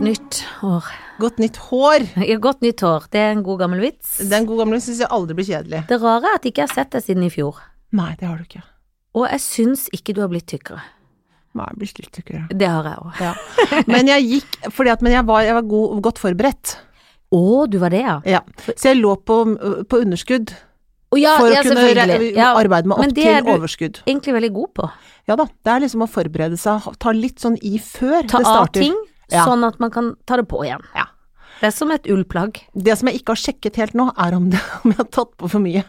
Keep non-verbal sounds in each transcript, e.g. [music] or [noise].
nytt år. Godt nytt hår. Ja, Godt nytt år, det er en god gammel vits. Den gode gamle syns jeg aldri blir kjedelig. Det rare er at jeg ikke har sett deg siden i fjor. Nei, det har du ikke. Og jeg syns ikke du har blitt tykkere. Nei, jeg blir litt tykkere. Det har jeg òg. Ja. Men jeg gikk fordi at Men jeg var, jeg var god, godt forberedt. Å, du var det, ja. Ja. Så jeg lå på, på underskudd Å, ja, for ja, å kunne re- selvfølgelig. Ja, arbeide meg men opp det til er du- overskudd. Egentlig veldig god på. Ja da. Det er liksom å forberede seg. ha- Ta litt sånn i før Ta det av starter. ting, Ja. sånn at man kan ta det på igjen. Ja. Det er som et ullplagg. Det som jeg ikke har sjekket helt nå, er om, det, om jeg har tatt på for mye.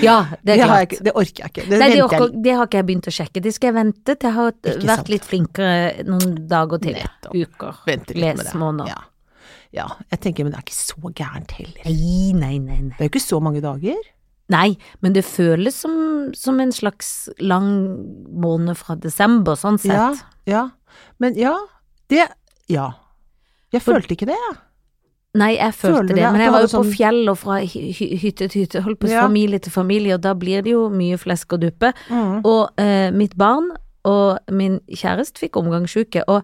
Ja, det er har klart. jeg ikke, det orker jeg ikke. Det Nei, det, venter jeg orker, det har ikke jeg begynt å sjekke. Det skal jeg vente til jeg har Ikke vært sant. litt flinkere noen dager til. Nettopp. Uker. Venter litt med det. Lesemåneder. Ja. ja. Jeg tenker, men det er ikke så gærent heller. Nei, nei, nei, nei. Det er jo ikke så mange dager. Nei, men det føles som, som en slags lang måned fra desember, sånn sett. Ja, ja. Men ja, det Ja. Jeg For- følte ikke det, jeg. Nei, jeg følte Føler det, du det, at men du jeg var jo på hadde sånn- fjell og fra hy hy hytte til hytte, holdt på Ja. familie til familie, og da blir det jo mye flesk og duppe. Mm. Og eh, mitt barn og min kjæreste fikk omgangssjuke, og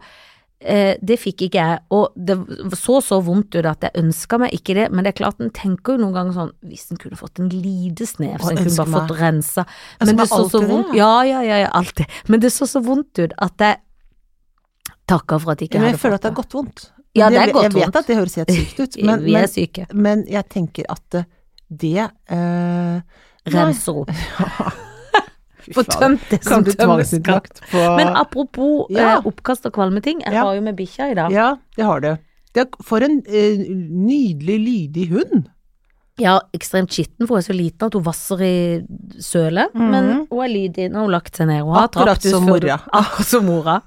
eh, det fikk ikke jeg. Og det så så vondt ut at jeg ønska meg ikke det, men det er klart en tenker jo noen ganger sånn Hvis en kunne fått en lite snev, så Å, en kunne ønsker bare fått meg- rensa. ønsker Men meg det så så alltid det, vondt jeg. Ja, ja, ja, ja, alltid. Men det så så vondt ut at jeg takka for at jeg ikke Men jeg hadde føler fått at det er godt vondt. Ja, det er jeg, godt jeg vet vondt. at det høres helt sykt ut, men, [laughs] Vi er men, syke. men jeg tenker at eh, det eh, Renser opp. Fy Få fader. tømt det Kan som du tømmes kan. tvangsinnlagt på Men apropos Ja. eh, oppkast og kvalmeting, jeg Ja. var jo med bikkja i dag. Ja, Ja, det har du. Det er, for en eh, nydelig, lydig hund. ekstremt skitten, for hun er så liten at hun vasser i sølet, Mhm. men hun er lydig når hun har lagt seg ned. Hun har hatt Akkurat raptus som før- mora. [laughs] Akkurat som mora.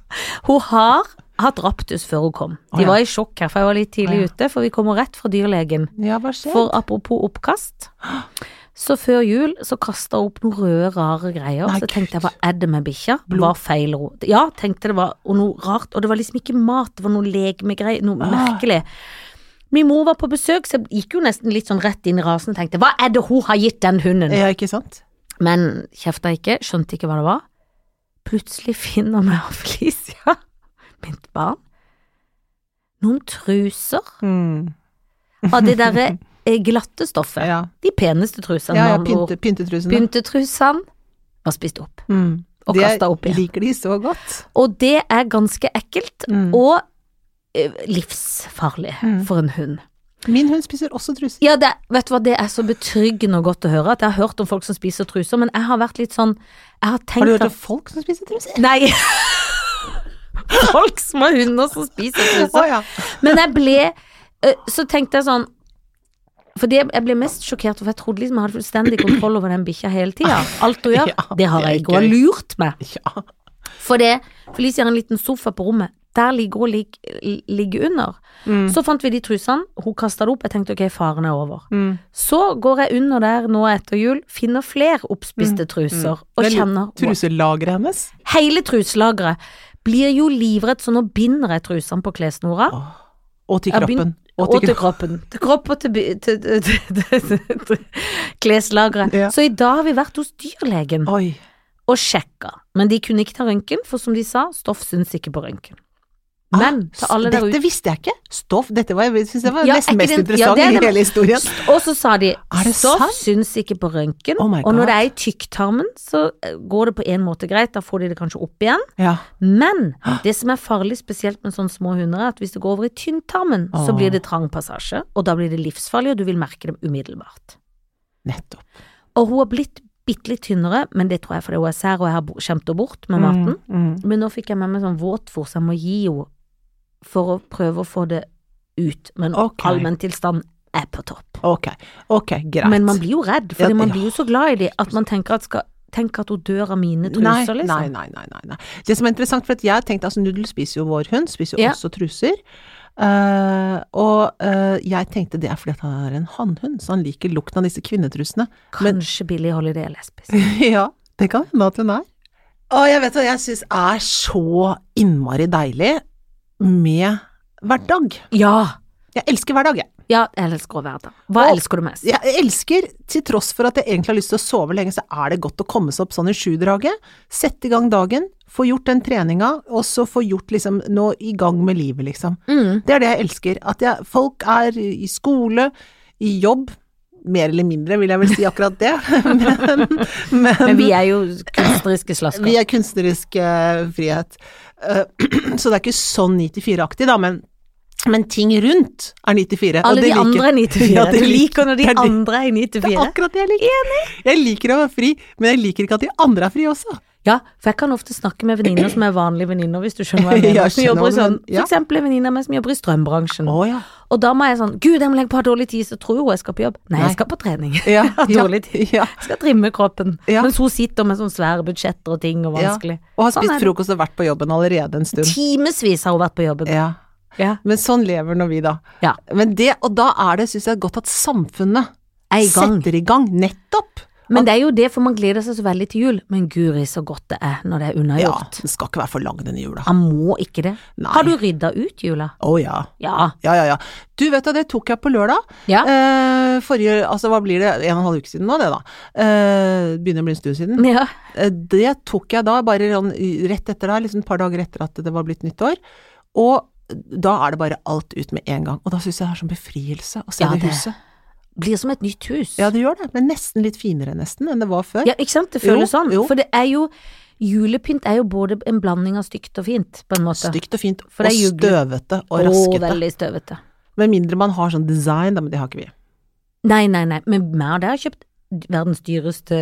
Hun har hatt raptus før hun kom. Å, De ja. var i sjokk her, for jeg var litt tidlig Å, ja. ute, for vi kommer rett fra dyrlegen. Ja, hva skjer? For apropos oppkast, så før jul så kasta hun opp noen røde, rare greier. Nei, så tenkte jeg Gud. hva er det med bikkja? Hva Blod. feiler hun? Ja, tenkte det var og noe rart, og det var liksom ikke mat, det var noe legemegreier, noe Ah. merkelig. Min mor var på besøk, så jeg gikk jo nesten litt sånn rett inn i rasen og tenkte hva er det hun har gitt den hunden? Ja, ikke sant? Men kjefta ikke, skjønte ikke hva det var. Plutselig finner meg og Felicia, [laughs] mitt barn, noen truser Mm. av det derre eh, glatte stoffet. Ja, De peneste trusene, ja, ja med andre ord. pynte, pyntetrusene. Pyntetrusene var spist opp Mm. og Det kasta opp igjen. liker de så godt. Og det er ganske ekkelt Mm. og eh, livsfarlig Mm. for en hund. Min hund spiser også truser. Ja, det, vet du hva, det er så betryggende og godt å høre at jeg har hørt om folk som spiser truser, men jeg har vært litt sånn Jeg har tenkt Har du hørt at- om folk som spiser truser? Nei. [laughs] folk som har hunder som spiser truser. Å ja. Men jeg ble eh, Så tenkte jeg sånn Fordi jeg jeg ble mest sjokkert For jeg trodde liksom jeg hadde fullstendig kontroll over den bikkja hele tiden Alt [laughs] hun gjør, Ja, det har det er jeg ikke Hun har gøy. lurt meg ja. For det, Felicia har en liten sofa på rommet Der ligger hun lig, ligger under Mm. Så fant vi de trusene Hun kastet det opp, jeg tenkte ok, faren er over Mm. Så går jeg under der nå etter jul Finner flere Mm. oppspiste truser Og Vel, kjenner wow. Truselageret hennes. Hele truslageret blir jo livrett Så nå binder jeg trusene på klesnora Og Jeg til har kroppen. Og til kroppen. Til kropp og til, by- til, til, til, til, til kleslageret. Ja. Så i dag har vi vært hos dyrlegen Oi. og sjekka, men de kunne ikke ta røntgen, for som de sa, stoff syns ikke på røntgen. Ah, Men til alle der Dette ute visste jeg ikke. Stoff. Dette var, jeg synes jeg var Ja, er nesten ikke mest det- ja, interessant det er i det. hele historien. Og så sa de Er det stoff sant? syns ikke på røntgen, Oh my og God. når det er i tykktarmen, så eh, går det på en måte greit, da får de det kanskje opp igjen. Ja. Men Ah. det som er farlig spesielt med sånne små hunder, er at hvis det går over i tynntarmen, så Åh. blir det trang passasje, og da blir det livsfarlig, og du vil merke det umiddelbart. Nettopp. Og hun har blitt bitte litt tynnere, men det tror jeg fordi hun er sær og jeg har bo- skjemt henne bort med maten. Mm, Men nå fikk jeg med meg sånn våtfôr som jeg må gi henne for å prøve å få det ut. Men Ok. allmenntilstanden er på topp. mm. Ok, ok, greit. Men man blir jo redd, Ja, for man ja. blir jo så glad i dem at man tenker at, skal, tenker at hun dør av mine nei, truser, liksom. nei, nei, nei, nei, nei. Det som er interessant, for at jeg tenkte altså Nudel spiser jo vår hund, spiser jo Ja. også truser. Eh, og eh, jeg tenkte det er fordi at han er en hannhund, så han liker lukten av disse kvinnetrusene. Men Kanskje Billie Holiday er lesbisk. [laughs] ja, det kan hende at hun er. Og jeg vet hva jeg syns er så innmari deilig med hverdag. Ja! Jeg elsker hverdag, jeg. Ja, jeg elsker å være der. Hva Og- elsker du mest? Jeg elsker, til tross for at jeg egentlig har lyst til å sove lenge, så er det godt å komme seg opp sånn i sjudraget. Sette i gang dagen, få gjort den treninga, og så få gjort liksom nå i gang med livet, liksom. Mm. Det er det jeg elsker. At jeg, folk er i skole, i jobb. Mer eller mindre, vil jeg vel si akkurat det. [laughs] Men, Men vi er jo kunstneriske slasker. vi er kunstnerisk eh, frihet. Eh, [clears throat] så det er ikke sånn 94-aktig, da, men, men ting rundt er 94. og Alle det de liker- andre er 94. [laughs] Ja, det du liker når de det er det- andre er 94. Det er akkurat det jeg liker. Jeg liker å være fri, men jeg liker ikke at de andre er fri også. Ja, for jeg kan ofte snakke med venninner som er vanlige venninner, hvis du skjønner hva [laughs] jeg mener. Ja, jeg Som skjønner jobber i hva du sånn, mener. Ja. For eksempel en venninne av meg som jobber i strømbransjen. ja. Og da må jeg sånn Gud, jeg må legge på dårlig tid, så tror hun jeg skal på jobb. Nei, Nei. jeg skal på trening. ja. [laughs] Jeg har dårlig tid. Ja. Jeg skal trimme kroppen. Ja. Mens hun sitter med sånne svære budsjetter og ting, og Ja. vanskelig. Og har Sånn er spist det. frokost og vært på jobben allerede en stund. Timevis har hun vært på jobben. Ja. Ja. Men sånn lever nå vi, da. Ja. Men det, og da er det, syns jeg, godt at samfunnet Er i gang. setter i gang. Nettopp! Men det er jo det, for man gleder seg så veldig til jul. Men guri, så godt det er når det er Ja, unnagjort. den skal ikke være for lang denne jula. Han må ikke det. Nei. Eh, Har du rydda ut jula? Å ja. Ja. Ja, ja, ja. Du vet du, det tok jeg på lørdag. Ja. Eh, forrige, altså hva blir det, en og en halv uke siden nå det da. Eh, begynner å bli en stund siden. ja. Eh, Det tok jeg da, bare sånn rett etter deg, liksom et par dager etter at det var blitt nyttår. Og da er det bare alt ut med en gang. Og da syns jeg det er sånn befrielse å se Ja, det det- huset. Blir som et nytt hus. Ja, det gjør det. Men nesten litt finere nesten enn det var før. Ja, ikke sant? Det føles Jo, sånn. jo. For det er jo Julepynt er jo både en blanding av stygt og fint, på en måte. Stygt og fint, For og det er jugle. støvete og og raskete. veldig støvete. Med mindre man har sånn design, da, men det har ikke vi. Nei, nei, nei. Men meg og deg har kjøpt verdens dyreste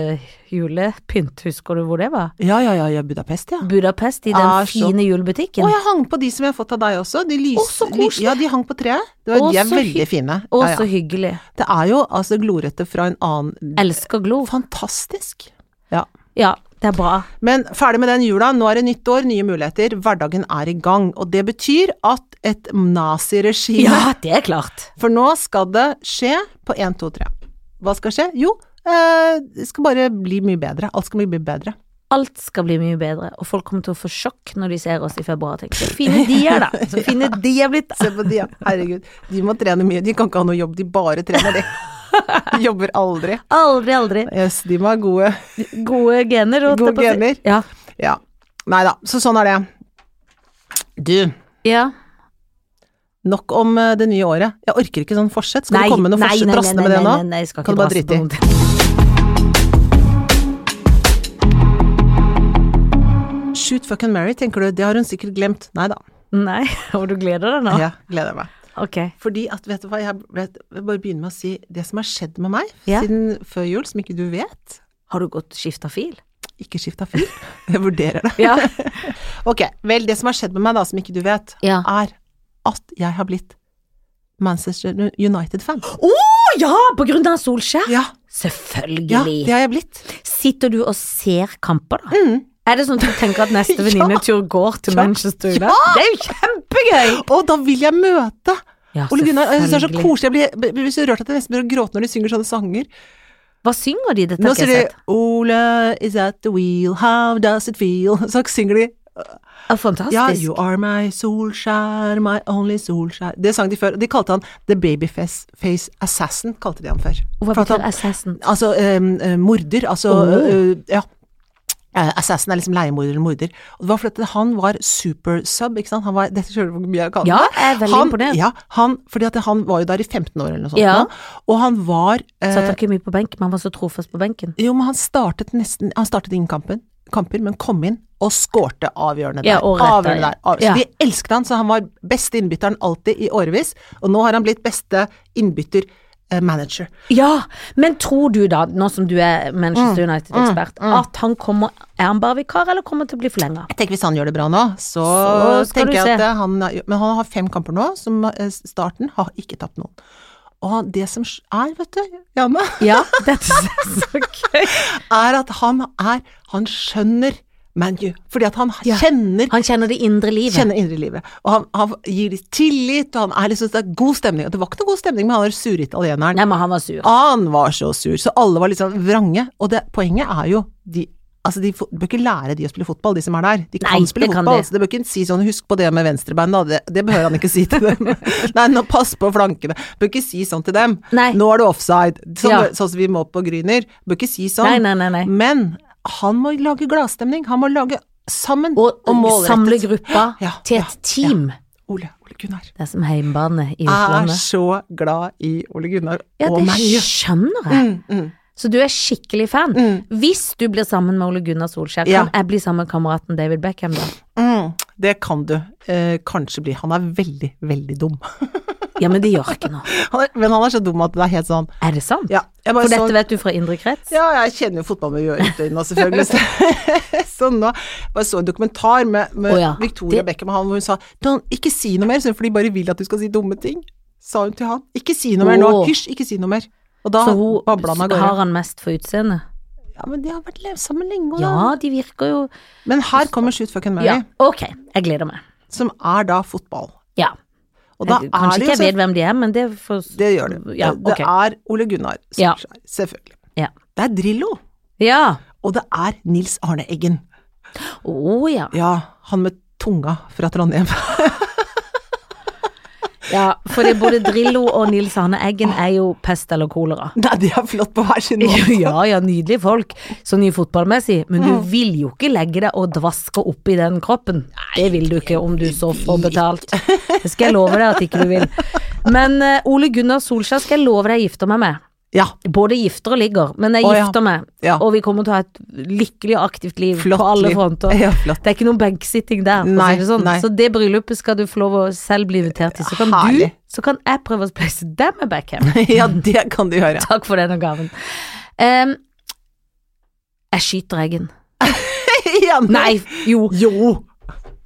julepynt. Husker du hvor det var? Ja, ja, ja, ja Budapest, ja. Budapest, i den Ah, så- fine Å, julebutikken. jeg hang på de som jeg har fått av deg også. De lys, Å, så koselig. ly- Ja, de hang på treet. Det var, Å, de er så veldig hy- fine. Å, Ja, så ja. hyggelig. Det er jo altså glorete fra en annen Elsker Glo. Fantastisk. Ja. Ja, det er bra. Men ferdig med den jula. Nå er det nytt år, nye muligheter. Hverdagen er i gang. Og det betyr at et naziregime Ja, det er klart. For nå skal det skje på 1, 2, 3. Hva skal skje? Jo, eh, det skal bare bli mye bedre. Alt skal bli mye bedre. Alt skal bli mye bedre, og folk kommer til å få sjokk når de ser oss i februar. Tenk, så [laughs] fine de er, da! Så fine de er blitt, da! Se på de, ja. herregud. De må trene mye. De kan ikke ha noe jobb, de [laughs] bare trener, de. De jobber aldri. Aldri, aldri. Yes, de må ha gode Gode gener. holdt jeg Gode på å si. gener. Ja. Ja. Nei da, så sånn er det. Du, ja. nok om eh, det nye året. Jeg orker ikke sånn forsett. Skal Nei, du komme med noen forsett? Drassene med det nå? Nei, nei, nei, jeg skal Kan ikke du bare drasse på drite i? noen ting. Shoot fucking Mary, tenker du. Det har hun sikkert glemt. Nei da. [laughs] Nei, og du gleder deg nå? Ja, gleder meg. Ok. Fordi at, vet du hva, jeg, vet, jeg bare begynner med å si det som har skjedd med meg Ja. siden før jul, som ikke du vet. Har du gått skifta fil? Ikke skifta fyr. [laughs] Jeg vurderer det. [laughs] Ja. Ok, vel, det som har skjedd med meg da, som ikke du vet, ja. er at jeg har blitt Manchester United-fan. Å ja, på grunn av Solskjær? Ja, ja, Selvfølgelig. det har jeg blitt. Sitter du og ser kamper, da? Mm. Er det sånn at du tenker at neste [laughs] Ja. venninnetur går til Ja. Manchester? da? Det er jo kjempegøy! Og da vil jeg møte Ja, Ole Gunnar. Jeg synes det er så Altså, selvfølgelig. koselig. Jeg blir, blir- blir så rørt at jeg nesten begynner å gråte når de synger sånne sanger. Hva synger de? Dette Nå har ikke sier jeg de sett. Ole is at the wheel, how does it feel? [laughs] Så synger de Ah, Fantastisk. Ja, you are my solskjær, my only solskjær. Det sang de før. og De kalte han The Babyface Face Assassin, kalte de han før. Hva For at betyr han- Assassin? Altså øhm, øh, morder, altså Åh. øh, ja. Eh, Assassin er liksom leiemorder eller morder. Og det var fordi at han var super sub, ikke sant. Han var, dette skjønner du hvor mye jeg kan Ja, jeg er veldig han, imponert. Ja, han, fordi at han var jo der i 15 år eller noe sånt, Ja. nå, og han var Satt eh, han ikke mye på benken, men han var så trofast på benken. Jo, men han startet nesten Han startet ingen kampen, kamper, men kom inn og skårte avgjørende Ja, der. og rett der, avgjørende ja. der. Av, Ja. Så de elsket han, så han var beste innbytteren alltid i årevis, og nå har han blitt beste innbytter eh, manager. Ja, men tror du da, nå som du er Manchester Mm. United-ekspert, at han kommer Er han bare vikar, eller kommer han til å bli forlenga? Jeg tenker hvis han gjør det bra nå, så, Så skal tenker du jeg se. at eh, han er- Men han har fem kamper nå, som eh, starten har ikke tapt noen. Og han- det som er, vet du, Janne, [laughs] Ja, dette er så gøy. [laughs] er at han er Han skjønner ManU, fordi at han Ja. kjenner Han kjenner det indre livet. Kjenner indre livet. Og han, han gir de tillit, og han er liksom det er god stemning. Og det var ikke noe god stemning med han der sure italieneren. Nei, men han var sur. Han var så sur, så alle var litt sånn vrange. Og det, poenget er jo, de Altså, de fo- bør ikke lære de å spille fotball, de som er der. De kan Nei, spille det kan fotball, de. så det bør ikke si sånn 'husk på det med venstrebein', da. Det, det behøver han ikke si til dem. [laughs] Nei, nå pass på flankene. Bør ikke si sånn til dem. Nei. Nå er du offside. Sånn, Ja. bør- sånn som vi må på Gryner. Bør ikke si sånn. Nei, nei, nei. nei. Men han må lage gladstemning. Han må lage sammen Og, eh, målrettet. samle gruppa Ja, til ja, et team. Ole, Ole Gunnar. Det er som heimbane i Jeg er utlandet. så glad i Ole Gunnar Ja, og meg. det skjønner jeg. Mm, mm. Så du er skikkelig fan. Mm. Hvis du blir sammen med Ole Gunnar Solskjær, Ja. kan jeg bli sammen med kameraten David Beckham da? Mm, det kan du eh, kanskje bli. Han er veldig, veldig dum. [laughs] Ja, men det gjør ikke noe. Han er, men han er så dum at det er helt sånn Er det sant? Ja, jeg bare For dette så- vet du fra indre krets? ja, jeg kjenner jo fotball med øyeøynene, selvfølgelig. Så, [laughs] så nå bare så en dokumentar med, med Å ja, Victoria det- Beckham, og han hvor hun sa «Don't- ikke si noe mer, for de bare vil at du skal si dumme ting. Sa hun til han. Ikke si noe mer nå. Å. Hysj, ikke si noe mer. Og da Så hun babla han av har gårde. han mest for utseendet? Ja, men de har vært le- sammen lenge, og da. Ja, de virker jo Men her kommer Shoot Fucking Mary, Ja, ok, jeg gleder meg. som er da fotball. Ja. Og da jeg, er kanskje det ikke jeg jo vet hvem de er, men det får Det gjør det. Ja, Det- ok. Det er Ole Gunnar Ja. Solskjær, selvfølgelig. Ja. Det er Drillo, Ja. og det er Nils Arne Eggen. Å ja. Ja, han med tunga fra Trondheim. [laughs] [laughs] ja. Fordi både Drillo og Nils Arne Eggen er jo pest eller kolera. Nei, de er flott på hver sin måte. [laughs] Ja ja, nydelige folk, sånn i fotballmessig, men du vil jo ikke legge deg og dvaske oppi den kroppen. Det vil du ikke om du så får betalt. Det skal jeg love deg at ikke du vil. [laughs] Men eh, Ole Gunnar Solskjær skal jeg love deg jeg gifter meg med. Ja, Både gifter og ligger, men jeg Å, ja. gifter meg. Ja. Og vi kommer til å ha et lykkelig og aktivt liv flott. på alle liv. fronter. [laughs] Ja, flott. Det er ikke noen benksitting der, for Nei, å si det sånn. nei. Så det bryllupet skal du få lov å selv bli invitert til. Så kan Herlig. du, så kan jeg prøve å spleise deg med Beckham. Ja, det kan de [laughs] gjøre. Takk for denne gaven. Em, jeg skyter eggen. Igjen. Nei, jo. Jo,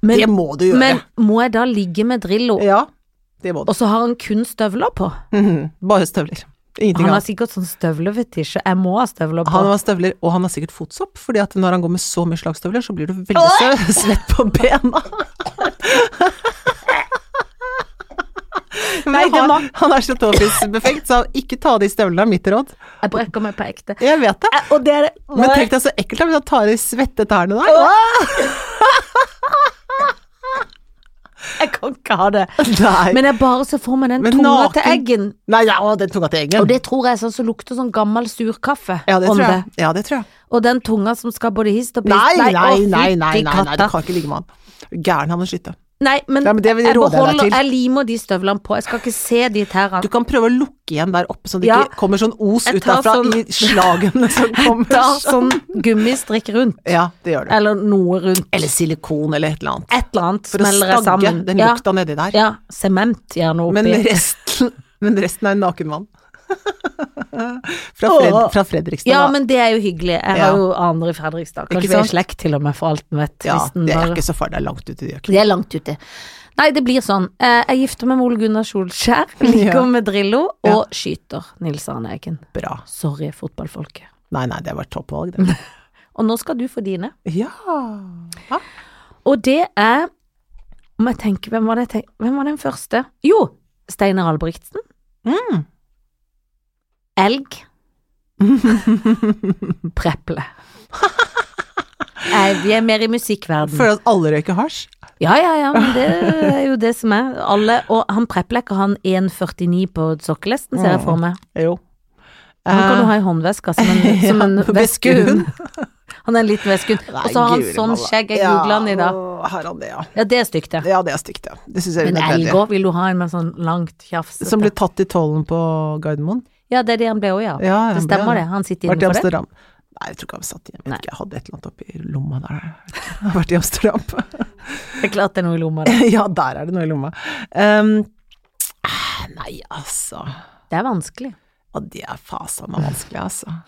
det Men, må du gjøre. men må jeg da ligge med Drillo, Ja, det må du. og så har han kun støvler på? Mhm, [laughs] Bare støvler. Ingenting Han har annet. sikkert sånn støvlevetisje. Jeg må ha støvler på. Han har støvler, og han har sikkert fotsopp, fordi at når han går med så mye slagstøvler, så blir du veldig sø- svett på [laughs] bena. Men Nei, det han- må- Han er så tåfisbefengt, så ikke ta de støvlene, er mitt råd. Jeg brekker meg på ekte. Jeg vet det. Jeg- Og det er det. Men tenk deg så ekkelt da, hvis han tar i svette tærne der. [laughs] Jeg kan ikke ha det. Nei. Men jeg bare ser for meg den Men tunga naken- til eggen. Nei, ja, å, den tunga til eggen. Og det tror jeg er sånn som lukter sånn gammel surkaffe. ja, det om tror jeg. Ja, det tror jeg. Og den tunga som skal både hist og pist Nei, nei, å, nei, nei, nei, fytti nei, du katta. kan ikke ligge med han. Gæren han å skyte. Nei, men, Nei, men det vil jeg jeg råde deg beholder, til. jeg limer de støvlene på. Jeg skal ikke se de Du tærne. kan prøve å lukke igjen der oppe, så det Ja. ikke kommer sånn os Jeg tar utafra sånn- i slagene [laughs] som kommer. Ta sånn gummistrikk rundt, Ja, det gjør du. eller noe rundt. Eller silikon eller et eller annet. Et eller annet For å smeller jeg stagge sammen. den Ja, lukta nedi der. ja, sement gjerne oppi. men, resten, men resten er en naken mann. [laughs] fra, Åh. Fred, fra Fredrikstad. ja, da. men det er jo hyggelig. Jeg Ja. har jo aner i Fredrikstad. Ikke Kanskje vi er sant? slekt til og med, for alt vi vet. ja, hvis den det er bare- ikke så farlig, det er langt ute i Det økenen. er langt ute. Nei, det blir sånn. Eh, Jeg gifter meg med Ole Gunnar [laughs] Solskjær, ligger Ja. med Drillo Ja. og skyter Nils Arne Eggen. Bra. Sorry, fotballfolket. Nei, nei, det var et toppvalg, det. [laughs] Og nå skal du få dine. Ja. ja. Og det er Om jeg tenker, hvem var, det, jeg tenk- hvem var den første? Jo, Steinar Albrigtsen. Mm. Elg. [laughs] Preple. Nei, vi er mer i musikkverdenen. Føler at alle røyker hasj. Ja, ja, ja, men det er jo det som er. Alle, og han Preple, er ikke han 1,49 på sokkelesten, ser jeg for meg. Jo. Han kan du Eh, ha i håndveska som en, som en [laughs] Ja, veskehund. [laughs] Han er en liten veskehund. Nei, Og så har han guri sånn malla. skjegg, jeg Ja, googla han i dag. å, Her han det, ja. Ja, det er stygt, det. Ja, det er stygt, ja. Det syns jeg er Men unødvendig. elgå vil du ha en med sånn langt tjafsete Som ble tatt i tollen på Gardermoen. Ja, det er det han ble òg, ja. Ja, Det han ble stemmer det. Han sitter Vært i innenfor det. Amsterdam. Nei, jeg tror ikke han satt i Jeg vet Nei. ikke, jeg hadde et eller annet oppi lomma der. Jeg har vært i Amsterdam. [laughs] Det er klart det er noe i lomma der. ja, der er det noe i lomma. Ehm, eh, nei, altså. Det er vanskelig. Og det er fasen meg vanskelig, altså.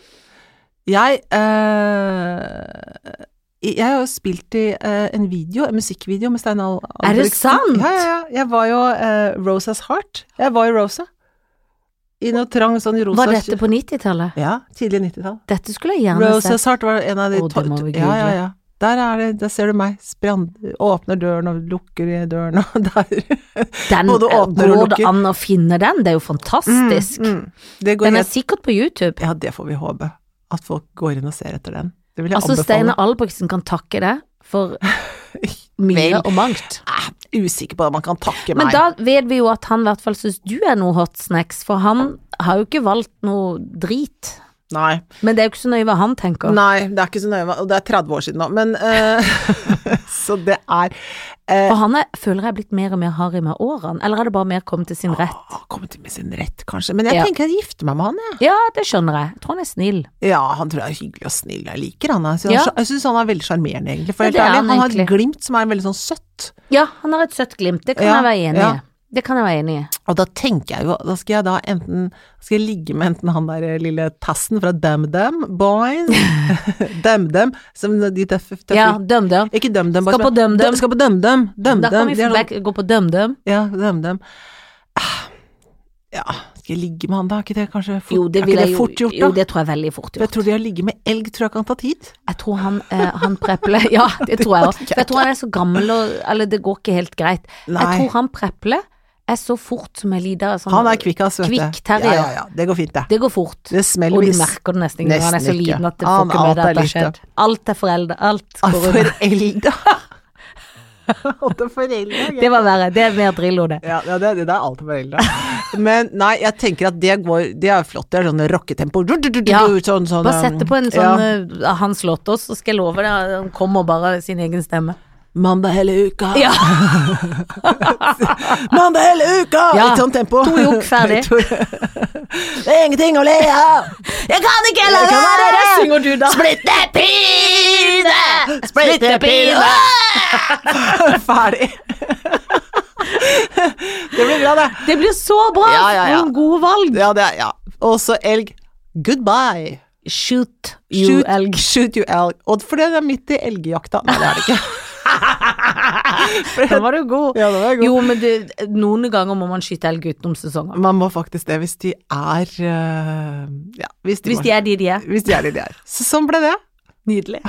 Jeg eh, Jeg har jo spilt i eh, en video, en musikkvideo med Stein Al Er det Albrigtsen. sant? Ja, ja, ja. Jeg var jo eh, Rosas Heart. Jeg var jo Rosa. I noe trang sånn rosa Var dette på 90-tallet? Ja, tidlig 90-tall. Dette skulle jeg gjerne sett. Roses Heart var en av de Å, det to- må vi Ja, ja, google. ja. Der, er det, der ser du meg. Sprand, åpner døren og lukker i døren, og [laughs] der Den Både åpner og går det lukker. an å finne den? Det er jo fantastisk. Mm, mm. Det går Den er helt sikkert på YouTube. Ja, det får vi håpe. At folk går inn og ser etter den. Det vil jeg Altså, anbefale. Steinar Albrigtsen kan takke deg [laughs] for mye Vel, og mangt. eh, usikker på om man kan takke Men meg. da vet vi jo at han i hvert fall syns du er noe hot snacks, for han har jo ikke valgt noe drit. Nei. Men det er jo ikke så nøye hva han tenker. Nei, det er ikke så nøye, hva- og det er 30 år siden nå, men eh, [laughs] Så det er eh, For han er, føler jeg er blitt mer og mer harry med årene, eller er det bare mer kommet til sin rett? å, Ah, Kommet til med sin rett, kanskje. Men jeg Ja. tenker jeg gifter meg med han, jeg. Ja, det skjønner jeg. Jeg tror han er snill. Ja, han tror jeg er hyggelig og snill. Jeg liker han. altså. Jeg Ja. syns han, jeg synes han er veldig sjarmerende, egentlig. For Ja, helt det er ærlig, han han, har egentlig. et glimt som er veldig sånn søtt. Ja, han har et søtt glimt, det kan Ja, jeg være enig i. ja. Det kan jeg være enig i. Og da tenker jeg jo, da skal jeg da enten skal jeg ligge med enten han der lille tassen fra DumDum Boys [laughs] DumDum, som de tøffe, tøffe Ja, DumDum. Ikke DumDum Boys, Skal på men- Dum Dum. Skal på DumDum. Da kan vi DumDum. de er sånn- back, gå på DumDum. Ja, DumDum. Ah, Ja, skal jeg ligge med han da? Er ikke det kanskje fort, Jo, det er vil ikke det jeg jo fort gjort, da? Jo, det tror jeg er veldig fort For jeg gjort. tror det å ligge med elg tror jeg kan ta tid. Jeg tror han, eh, han prepler [laughs] Ja, det tror jeg òg. orker jeg For jeg tror han er så gammel og Eller det går ikke helt greit. Nei. Jeg tror han prepler er så fort som en liten sånn Han er kvikkas, vet du. Kvikk terrier. Ja, ja, ja. Det går fint, det. Det går fort. Det smeller Og du hvis- merker det nesten ikke når han er så Nesten ikke. liten at det får Han- ikke med alt deg at er det har litt, skjedd. Alt er forelder, alt Ah, går unna. [laughs] Forelda! At det er forelda, ja. Det var verre. Det er mer Drillo, det. Ja, ja, det, det er alltid foreldre. [laughs] Men nei, jeg tenker at det går Det er flott, det er sånn rocketempo. Du, du, du, du, Ja. Sånn, sånn, Bare sette på en sånn ja. eh, av Hans låt også, så skal jeg love deg, han kommer bare sin egen stemme. Mandag hele uka! Ja, Mandag hele uka! [laughs] Ja. Litt sånn tempo. To jokk ferdig. [laughs] To- det er ingenting å le [laughs] av! Jeg kan ikke la Jeg kan være! være! Synger du da? Splitte [laughs] pine! Splitte pine! [laughs] [laughs] Ferdig. det blir bra, det. Det blir så bra! Ja, ja, ja. Noen gode valg. Ja, det er ja. Og så elg. Goodbye. Shoot you shoot, elg. Shoot you elg. Og for det er midt i elgjakta. Nei, det er det [laughs] ikke. Den var du god. Ja, det var god. Jo, men det, noen ganger må man skyte elg utenom sesonger. Man må faktisk det hvis de er eh, Ja, hvis de, Hvis de er de de er. hvis de er det de er. Så sånn ble det. Nydelig.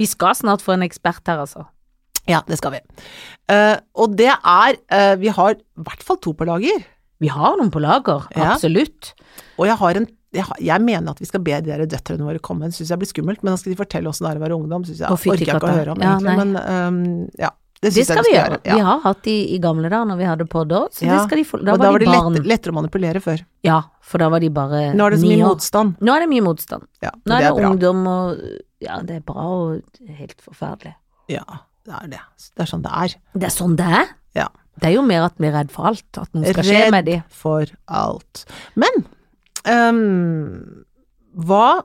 Vi skal snart få en ekspert her, altså. Ja, det skal vi. Eh, og det er eh, Vi har i hvert fall to på lager. Vi har noen på lager, Ja. absolutt. Og jeg har en jeg, har, jeg mener at vi skal be de der døtrene våre komme. Det syns jeg blir skummelt, men da skal de fortelle åssen det er å være ungdom. Synes jeg Å, fytti orker jeg ikke å katta. høre om, Ja, egentlig. nei. men ehm, ja. Det Det syns jeg skal vi gjøre. Vi har hatt de i gamle dager når vi hadde podd òg, så det Ja. skal de få. Da Da og var, de barn. lett, lettere å manipulere før. Ja, for da var de bare Nå er det så ni mye år. motstand. Nå er det mye motstand. Ja, Nå er det, bra. ungdom og Ja, det er bra og helt forferdelig. Ja, det er det. Det er sånn det er. Det er sånn det er. Ja. Det er jo mer at vi er redd for alt, at noe skal skje med Redd de. for alt. Men ehm, hva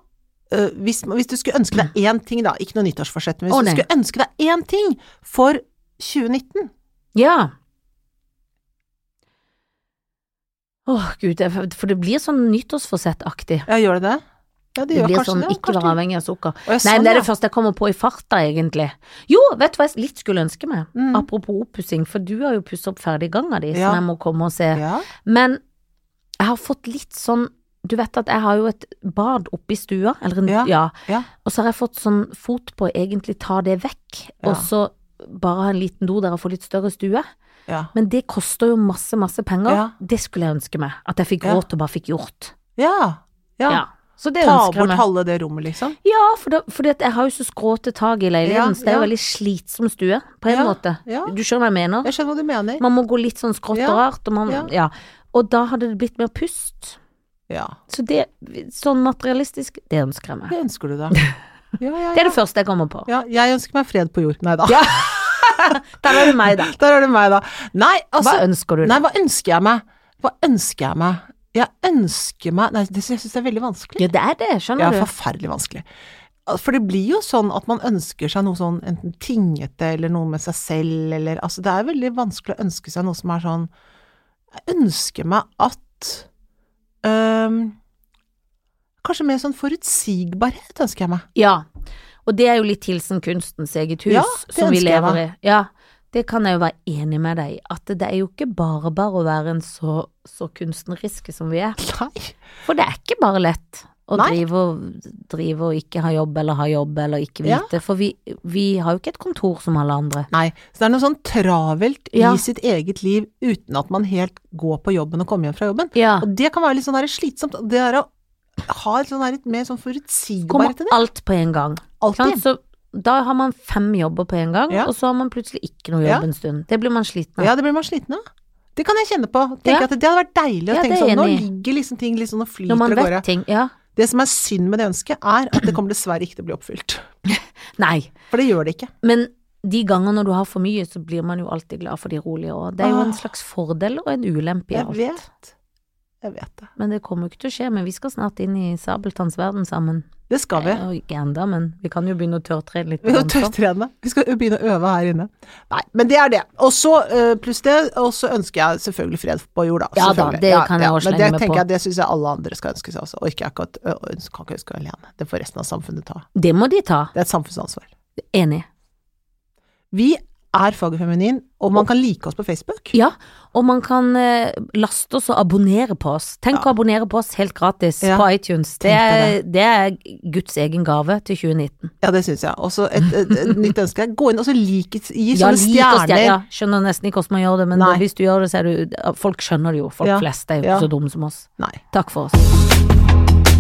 eh, hvis, hvis du skulle ønske deg én ting, da, ikke noe nyttårsforsett, men hvis Å, du nei. skulle ønske deg én ting for 2019 Ja. Åh, gud, det er- for det blir sånn nyttårsforsettaktig. Ja, gjør det det? Ja, det, Det gjør blir kanskje sånn det. ikke kanskje være avhengig av sukker. Å, ja, Nei, sånn, men det er ja. det første jeg kommer på i farta, egentlig. Jo, vet du hva jeg litt skulle ønske meg? Mm. Apropos oppussing, for du har jo pusset opp ferdig ganga di, Ja. som jeg må komme og se. Ja. Men jeg har fått litt sånn Du vet at jeg har jo et bad oppe i stua, eller en, ja, Ja, ja. og så har jeg fått sånn fot på å egentlig ta det vekk, Ja. og så bare ha en liten do der og få litt større stue. Ja. Men det koster jo masse, masse penger. Ja. Det skulle jeg ønske meg. At jeg fikk Ja. råd til og bare fikk gjort. ja. ja. Ja. Så det Ta ønsker jeg bort meg. halve det rommet, liksom. Ja, for da, fordi at jeg har jo så skråte tak i Ja, leiligheten, så det er jo ja. veldig slitsom stue, på en Ja, måte. ja. Du skjønner hva jeg mener? Jeg skjønner hva du mener. Man må gå litt sånn skrått Ja, og rart, og man ja. Ja. Og da hadde det blitt mer pust. Ja. Så det, sånn materialistisk, det ønsker jeg meg. Det [laughs] ønsker du da. Ja, ja, Det ja. er det første jeg kommer på. ja. Jeg ønsker meg fred på jord. Nei da. Ja. Der er det meg, da. [laughs] Der er det meg, da. Nei, [laughs] altså Hva ønsker du? Nei, hva ønsker jeg meg? Hva ønsker jeg meg? Jeg ønsker meg Nei, det syns jeg synes det er veldig vanskelig. Ja, det er det, Ja, skjønner du. forferdelig vanskelig. For det blir jo sånn at man ønsker seg noe sånn enten tingete eller noe med seg selv, eller Altså, det er veldig vanskelig å ønske seg noe som er sånn Jeg ønsker meg at øhm, Kanskje mer sånn forutsigbarhet ønsker jeg meg. Ja. Og det er jo litt hilsen kunstens eget hus, Ja, det som vi ønsker jeg lever i. Ja, det kan jeg jo være enig med deg i. At det er jo ikke bare bare å være en så, så kunstneriske som vi er. Nei. For det er ikke bare lett å Nei. drive og, drive og ikke ha jobb, eller ha jobb, eller ikke Ja. vite. For vi, vi har jo ikke et kontor som alle andre. Nei. Så det er noe sånn travelt Ja. i sitt eget liv uten at man helt går på jobben og kommer hjem fra jobben. Ja. Og det kan være litt sånn der slitsomt. og Det er å ha et sånn her litt mer sånn Kommer forutsigbarhet i det. alt på en gang. Sant? Alltid. Så da har man fem jobber på en gang, Ja. og så har man plutselig ikke noe Ja. jobb en stund. Det blir man sliten av. Ja, det blir man sliten av. Det kan jeg kjenne på. Tenker Ja. at Det hadde vært deilig å Ja, tenke det er jeg sånn. Nå enig i. ligger liksom ting litt sånn og flyter Når man og går vet av. ting. Ja. Det som er synd med det ønsket, er at det kommer dessverre ikke til å bli oppfylt. Nei. For det gjør det ikke. Men de ganger når du har for mye, så blir man jo alltid glad for de rolige år. Det er jo en Åh. slags fordel og en ulempe i Ah. Jeg alt. vet. Jeg vet det. Men det kommer jo ikke til å skje. Men vi skal snart inn i Sabeltanns verden sammen. Det skal vi. Eh, og Ikke enda, men vi kan jo begynne å tørrtrene litt. på Vi må ramsa. tørrtrene. Sånn, Vi skal begynne å øve her inne. Nei, men det er det. Og så, eh, pluss det, og så ønsker jeg selvfølgelig fred på jorda. Ja da, selvfølgelig. det kan jeg også men slenge det meg tenker på. Jeg, det syns jeg alle andre skal ønske seg også. Orker jeg ikke at, ø- ø- kan ikke ønske meg alene. Det får resten av samfunnet ta. sånn. Det må de ta. Det er et samfunnsansvar. Enig. Vi er Fag og Feminin, og man kan like oss på Facebook. Ja, og man kan eh, laste oss og abonnere på oss. Tenk å abonnere på oss helt gratis Ja. på iTunes. Det er, Tenk det er Guds egen gave til 2019. Ja, det syns jeg. Og så et, et, et nytt ønske er gå inn og så like, gi Ja, sånne lik oss, stjerner. ja, skjønner nesten ikke hvordan man gjør det, men Nei. hvis du gjør det, så er du Folk skjønner det jo. Folk Ja. flest er jo Ja. ikke så dumme som oss. Nei. Takk for oss.